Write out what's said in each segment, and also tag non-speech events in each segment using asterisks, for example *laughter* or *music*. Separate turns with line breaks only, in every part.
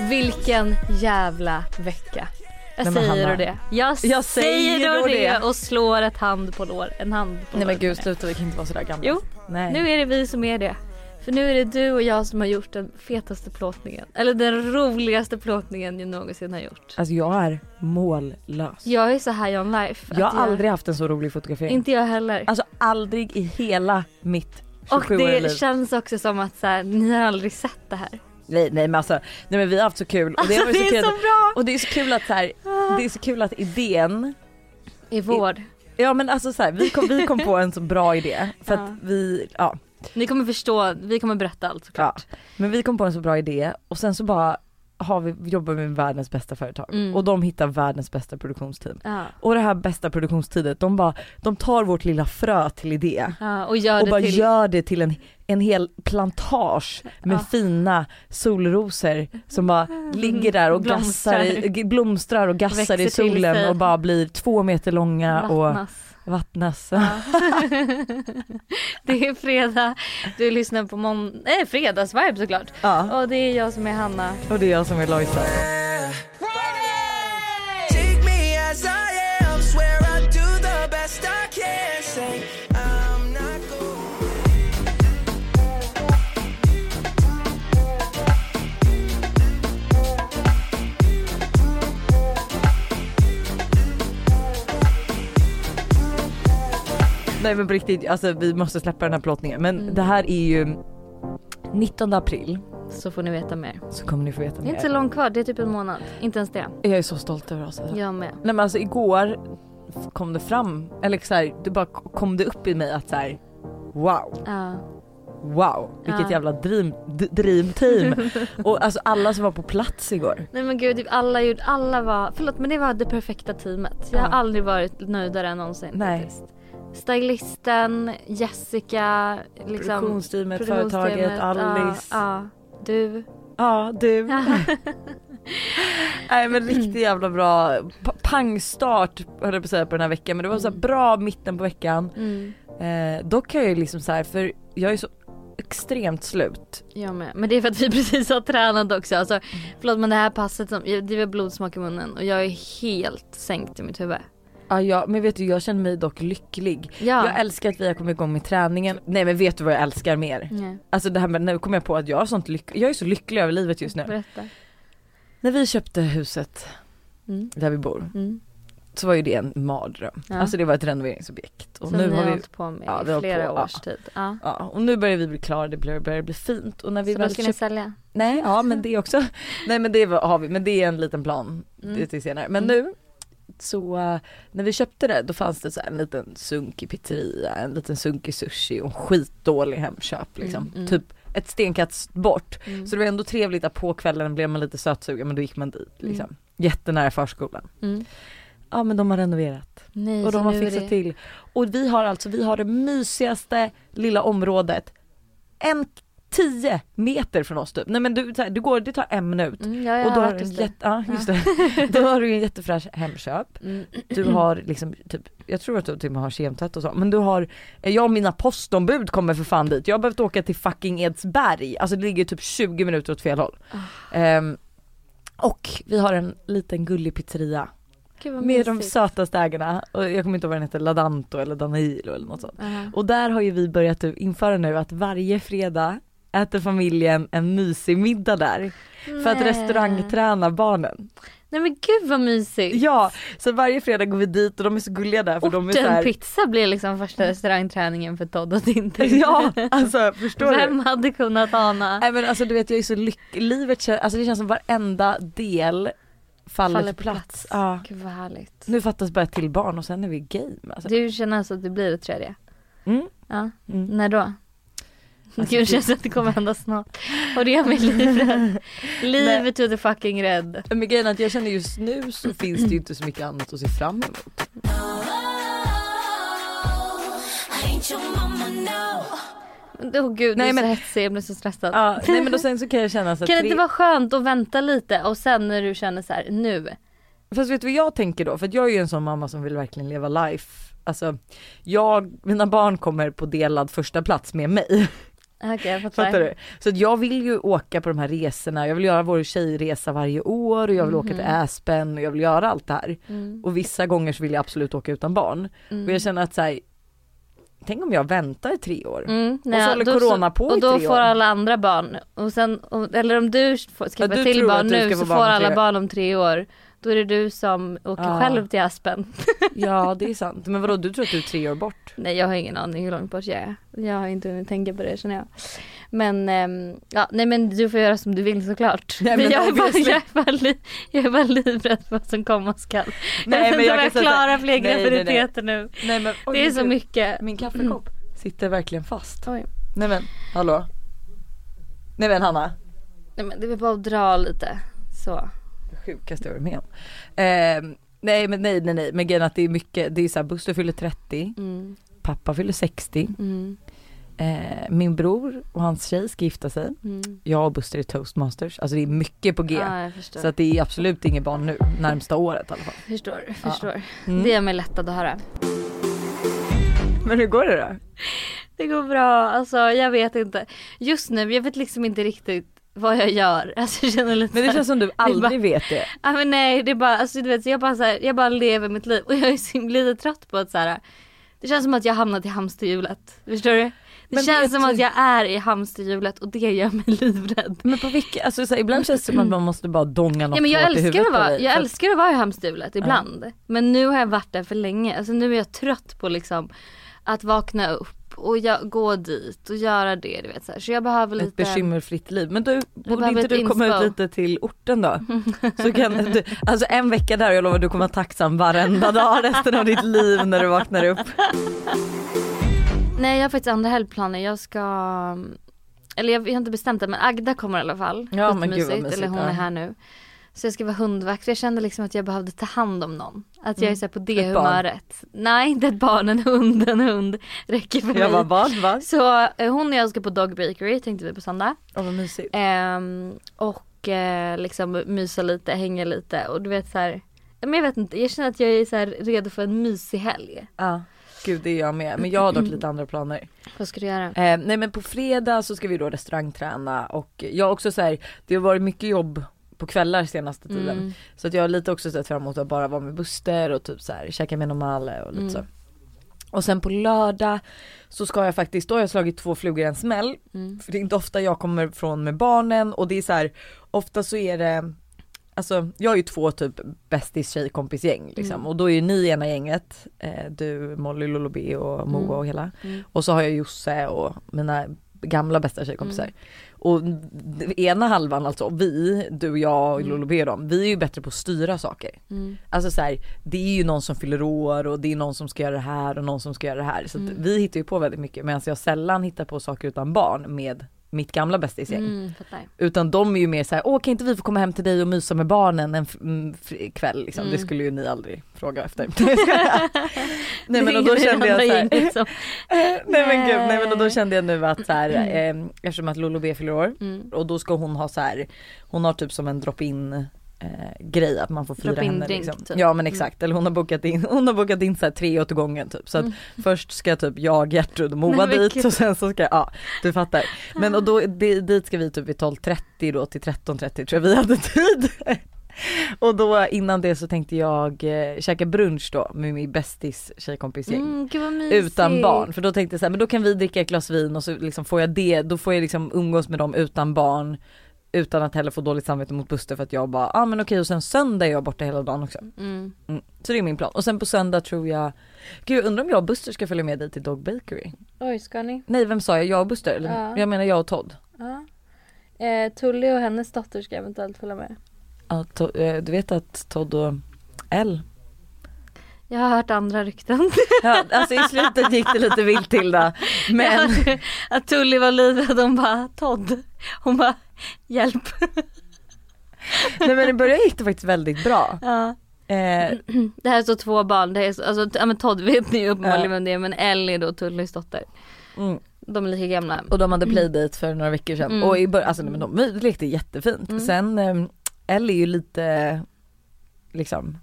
Vilken jävla vecka. Jag
Nej, men
säger
Hanna.
och det. Jag,
Jag
säger,
säger
och
och
det
det.
och slår ett hand på lår. En hand på
Nej men
låret
gud
menar jag.
sluta vi kan inte vara sådär gamla.
Jo,
Nej.
Nu är det vi som är det. För nu är det du och jag som har gjort den fetaste plåtningen. Eller den roligaste plåtningen jag någonsin har gjort.
Alltså jag är mållös.
Jag är så high on life. att
jag har aldrig haft en så rolig fotografering.
Inte jag heller.
Alltså aldrig i hela mitt
Och
27
det
liv.
känns också som att så här, ni har aldrig sett det här.
Nej, nej men alltså, nej men vi har haft så kul och det,
Alltså
har varit
det är
så kul.
*laughs* så Ah. bra!
och det är så kul att så här, det är så kul att idén,
I vård.
ja men alltså så här, vi kom, vi kom på en så bra idé för att
Ja.
vi, ja,
Ni kommer förstå, vi kommer berätta allt såklart.
Ja. Men vi kom på en så bra idé och sen så bara har vi, jobbar vi med världens bästa företag
Mm.
och de hittar världens bästa produktionsteam.
Ja.
Och det här bästa produktionsteamet, de bara, de tar vårt lilla frö till idé
Ja, och gör
och
det
bara
till...
gör det till en, en hel plantage med
Ja.
fina solrosor som bara ligger där och gassar, i- g- blomstrar och gassar
Växer
i
till sig.
solen och bara blir två meter långa och
Vattnas.
vattnas.
Ja. *laughs* det är fredag, du lyssnar på mån... Nej, fredagsvibe såklart.
Ja.
Och det är jag som är Hanna.
*laughs* Och det är jag som är Lojsan.
Take me as I am. Swear I'll do the best I can. Say I'm not going.
Nej men på riktigt, alltså vi måste släppa den här plåtningen. Men
Mm.
det här är ju 19 april
Så får ni veta mer.
så kommer ni få veta
Det är
mer.
inte så långt kvar, det är typ en månad. Inte ens det.
Jag är så stolt över oss. Alltså.
Jag med.
Nej men alltså igår kom det fram, eller så här, det bara kom det upp i mig att så här, wow,
Ja.
wow, vilket
Ja.
jävla dream, d- dream *laughs* team. och alltså alla som var på plats igår.
Nej men gud, typ alla gjorde, alla var, förlåt men det var det perfekta teamet. Jag har
Ja.
aldrig varit nöjdare än någonsin
Nej.
faktiskt. Stylisten, Jessica, liksom.
Produktionsteamet,
produktionsteamet,
företaget, Alice. Ja,
Ja, ja. Du. *laughs*
du. Nej men riktigt jävla bra pa- pangstart höll jag på att säga på den här veckan men det var så här bra mitten på veckan.
Mm,
Eh, dock kan jag ju liksom så här, för jag är så extremt slut.
jag med. Men det är för att vi *laughs* precis har tränat också. Alltså,
Mm.
förlåt men det här passet, som, det var blodsmak i munnen och jag är helt sänkt i mitt huvud.
Ja, jag, men vet du jag känner mig dock lycklig.
Ja.
Jag älskar att vi har kommit igång med träningen. Nej men vet du vad jag älskar mer?
Nej,
Alltså det här med, nu kom jag på att jag har sånt lyck- jag är så lycklig över livet just nu.
berätta.
När vi köpte huset
Mm.
där vi bor
Mm.
så var ju det en mardröm.
Ja.
Alltså det var ett renoveringsobjekt. Och
Som
nu
ni har
har vi
hållit på med
ja, vi
i
har hållit
flera
på, ja.
års tid. Ja.
Ja, och nu börjar vi bli klara, det börjar, börjar bli fint och när vi
Så då
väl
ska
köpte
ni sälja?
Nej, ja men det också. Nej men det var- har vi, men det är en liten plan
Mm.
till senare. Men nu så eh, när vi köpte det då fanns det så här en liten sunkig pizzeria, en liten sunkig sushi och en skitdålig Hemköp liksom.
Mm, mm.
Typ ett stenkast bort.
Mm.
Så det var ändå trevligt att på kvällen blev man lite sötsugen men då gick man dit liksom. Jättenära förskolan. Mm,
Mm.
Ja men de har renoverat
Nej,
och
så
de har
nu är
fixat
det...
till. Och vi har alltså, vi har det mysigaste lilla området. En 10 meter från oss typ. Nej men du, så här, du går, det tar en minut.
Mm, ja, jag
Och då
har
har,
varit
du en
hos dig.
jätte, ja, just det.
*laughs*
då har du en jättefräsch Hemköp.
Mm.
Du har liksom typ, jag tror att du till och med har kemtvätt och så. Men du har, eh, jag och mina postombud kommer för fan dit. Jag har behövt åka till fucking Edsberg. Alltså det ligger typ 20 minuter åt fel håll.
Ah.
Ehm, och vi har en liten gullig pizzeria
Gud, vad
med de
mysigt.
sötaste ägarna. Och jag kommer inte ihåg vad den heter, Ladanto eller Danilo eller något sånt.
Aha.
Och där har ju vi börjat typ införa nu att varje fredag äter familjen en mysig middag där. För att
Nej.
restaurangträna barnen.
Nej men gud vad mysigt!
Ja, så varje fredag går vi dit och de är så gulliga där för de är så
Orten
här, Mm.
pizza blir liksom första restaurangträningen för Todd och Tintin. *laughs*
*laughs* Ja, alltså förstår
Vem
du?
hade kunnat ana?
Nej men alltså du vet jag är så lycklig, livet känns, alltså det känns som varenda del faller, på plats. Ja.
Gud vad härligt.
Nu fattas bara ett till barn och sen är vi game alltså.
Du känner alltså att det blir ett tredje?
Mm.
Ja.
Mm.
När då? Gud Alltså, det känns att det kommer hända snart. Och det gör mig *laughs* livrädd. Livet to the fucking rädd.
Men grejen är att jag känner just
*clears throat*
nu så finns det ju inte så mycket annat att se fram emot.
Oh, I ain't your mama, no.
Åh gud,
Nej,
du är så
men-
hetsig, jag blir så stressad.
Ja, nej men och sen så kan jag känna så att
Kan det
tre-
inte vara skönt att vänta lite och sen när du känner så här nu?
Fast vet du vad jag tänker då? För att jag är ju en sån mamma som vill verkligen leva life. Alltså jag, mina barn kommer på delad första plats med mig.
Okej jag fattar.
Fattar du? Så att jag vill ju åka på de här resorna, jag vill göra vår tjejresa varje år och jag vill åka till Aspen och jag vill göra allt det här.
Mm.
Och vissa gånger så vill jag absolut åka utan barn. Och jag känner att så här, tänk om jag väntar i tre år.
Mm,
så håller
då
corona på i
Och då
tre
får
år.
alla andra barn, och sen, och, eller om du får- skaffar
du
till
tror
barn
att du
nu
ska
så
få
får
barn om
alla
tre år.
barn om tre år. Då är det du som åker
Ja.
själv till Aspen. *laughs*
Ja det är sant, men vadå du tror att du är tre år bort?
Nej jag har ingen aning hur långt bort jag är. Jag har inte hunnit tänka på det känner jag. Men, ehm, ja, nej men du får göra som du vill såklart.
Nej,
men
men
jag, är bara, *laughs*
obviously.
jag, är bara li, jag är bara livrädd för vad som komma skall. *laughs*
Nej, *laughs*
jag vet
men
inte
jag
om
kan
jag
säga-
klarar fler
Nej, nej, nej.
graviditeter nu.
Nej, men, oj,
Det är
men
så
gud,
mycket. Mm.
Min kaffekopp sitter verkligen fast.
Oj.
Nej men hallå? Nej men Hanna,
Nej men det är väl bara att dra lite. Så.
det sjukaste jag varit med om. Ehm, nej men nej nej nej men grejen är att det är mycket, det är så här Buster fyller 30,
Mm,
pappa fyller 60,
mm,
eh, min bror och hans tjej ska gifta sig,
mm.
jag och Buster är toastmasters, alltså det är mycket på G.
Ja, jag förstår.
Så att det är absolut inget barn nu, närmsta året i alla fall.
Förstår, förstår.
Mm.
Det är mig lättad att höra.
Men hur går det då?
Det går bra, alltså jag vet inte. Just nu, jag vet liksom inte riktigt vad jag gör. *laughs* Alltså jag känner lite
Men det
så här-
känns som du aldrig vet det.
Ja men nej det är bara, alltså du vet så jag bara så här, jag bara lever mitt liv och jag är så himla lite trött på att så här. Det känns som att jag har hamnat i hamsterhjulet. Förstår du? Det
Men vet
känns som
du-
att jag är i hamsterhjulet och det gör mig *laughs* livrädd.
Men på vilka, alltså så här, ibland känns det som att man måste bara donga
Nej
något
men jag
hårt i
älskar,
huvudet
att
på
vara,
dig.
jag
För att-
älskar att vara i hamsterhjulet ibland. Men nu har jag varit där för länge. Alltså nu är jag trött på liksom att vakna upp och jag, gå dit och göra det. Du vet, så, här. så jag behöver
ett
lite...
bekymmerfritt liv. Men du, borde
behöver
inte
ett
du komma
inspo.
ut lite till orten
*laughs*
då? Så kan du, alltså en vecka där jag lovar du kommer vara tacksam varenda dag resten av ditt liv när du vaknar upp.
*laughs* Nej jag har faktiskt andra helgplaner. Jag ska... Eller jag, jag har inte bestämt det men Agda kommer i alla fall.
Ja, men
Skitmysigt.
gud, vad mysigt,
Eller hon
ja.
är här nu. Så jag ska vara hundvakt för jag kände liksom att jag behövde ta hand om någon. Att jag är så här på det
Mm. Ett barn.
humöret. Nej inte ett barn, en hund, en hund räcker för
Jag
mig.
bara vad, vad?
Så eh, hon och jag ska på Dog Bakery tänkte vi på söndag.
Ja vad mysigt.
Ehm, och eh, liksom mysa lite, hänga lite och du vet så här. Men jag vet inte, jag känner att jag är så här redo för en mysig helg.
Ja. Gud det är jag med, men jag har dock lite andra planer.
Vad ska du göra?
Eh, nej men på fredag så ska vi då restaurangträna och jag har också så här, det har varit mycket jobb på kvällar senaste tiden.
Mm.
Så att jag har lite också sett fram emot att bara vara med Buster och typ så här, käka med Normale och lite så. Och sen på lördag så ska jag faktiskt, då har jag slagit två flugor i en smäll.
Mm,
För det är inte ofta jag kommer från med barnen och det är så här, ofta så är det Alltså jag har ju två typ bästis tjejkompisgäng liksom och då är ju ni ena gänget, eh, du, Molly, Lolo B och Moa och hela. Och så har jag Josse och mina gamla bästa tjejkompisar. Och d- ena halvan alltså, vi, du, jag och Lolo B och dem, vi är ju bättre på att styra saker.
mm,
Alltså så här, det är ju någon som fyller år och det är någon som ska göra det här och någon som ska göra det här. Så
Mm.
att vi hittar ju på väldigt mycket medan jag sällan hittar på saker utan barn med mitt gamla bästisgäng.
Mm, fattar.
Utan de är ju mer såhär, åh kan inte vi få komma hem till dig och mysa med barnen en f- mm, fri- kväll liksom.
Mm.
Det skulle ju ni aldrig
*laughs*
fråga efter. *laughs* nej men och då
Det är
kände
det
jag
andra liksom?
såhär,
gänget som-
*laughs* nej men gud, nej men och då
Nej.
kände jag nu
*clears throat*
att såhär, eh, eftersom att Lolo B fyller år
Mm.
och då ska hon ha såhär, hon har typ som en drop-in eh, grej att man får fira
Drop-in
henne
drink,
liksom.
typ.
Ja men exakt, eller hon har bokat in, hon har bokat in så här tre åt gången typ. Så att först ska typ jag, Gertrud och Moa
Mm. Nej, men
dit
gud. Ah.
och sen så ska, ja du fattar. Men och då, di- dit ska vi typ vid 12.30 då till 13.30 tror jag vi hade tid. *laughs* Och då innan det så tänkte jag eh, käka brunch då med min bästis tjejkompisgäng
Mm, gud vad mysigt.
utan barn. För då tänkte jag så här, men då kan vi dricka ett glas vin och så liksom får jag det, då får jag liksom umgås med dem utan barn. Utan att heller få dåligt samvete mot Buster för att jag bara, ja ah, men okej och sen söndag är jag borta hela dagen också.
Mm.
Mm. Så det är min plan. Och sen på söndag tror jag, gud jag undrar om jag och Buster ska följa med dig till Dog Bakery?
Oj ska ni?
Nej vem sa jag, jag och Buster? Eller,
Ja.
Jag menar jag och Todd.
Ja. Eh, Tully och hennes dotter ska eventuellt följa med.
Ja, to- eh, du vet att Todd och L.
Jag har hört andra rykten. *laughs*
Ja, alltså i slutet gick det lite vilt till då.
Jag
Men
hörde att Tully var livrädd. Hon bara Todd. Hon bara hjälp.
nej men i början gick det faktiskt väldigt bra.
Ja.
Eh,
Det här är så två barn. Det här är så, alltså, t- ja, men Todd vet ni ju uppenbarligen
Ja.
vem det är men Ellie är då Tullys dotter.
mm.
De är lika gamla.
Och de hade playdate för några veckor sedan
Mm.
och i början, alltså nej, men de vi lekte jättefint. Sen eh, Ellie är ju lite liksom,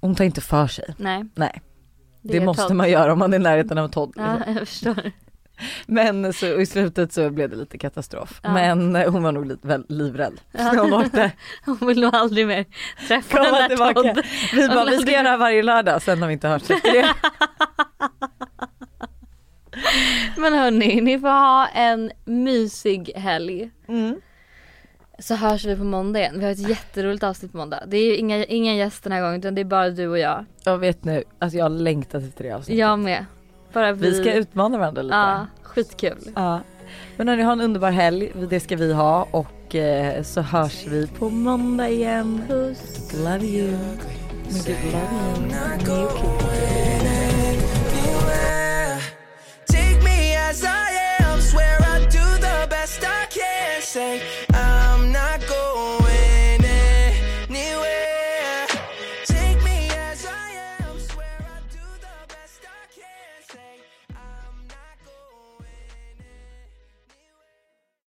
hon tar inte för sig.
Nej.
Nej, det,
är
måste
Todd.
man göra om man är i närheten av Todd.
Ja, *laughs*
Liksom.
jag förstår.
Men så, och i slutet så blev det lite katastrof.
Ja.
Men eh, hon var nog lite väl livrädd.
*laughs* Ja.
när Hon åkte.
Hon vill nog aldrig mer träffa
Komma
den där
tillbaka.
Todd.
Vi bara,
Hon
vi ska
hade-
göra det här varje lördag, sen har vi inte hört
*laughs*
efter det.
Men hörni, ni får ha en mysig helg.
Mm.
Så hörs vi på måndag igen. Vi har ett jätteroligt avsnitt på måndag. Det är ju inga, ingen gäst den här gången utan det är bara du och jag.
Jag vet nu, alltså jag har längtat efter det avsnittet.
Jag med. Bara vi.
Vi ska utmana varandra lite.
Ja, skitkul.
Ja. Men hörni, ha en underbar helg. Det ska vi ha och eh, så hörs vi på måndag igen.
Puss.
Love you.
I'm not going away.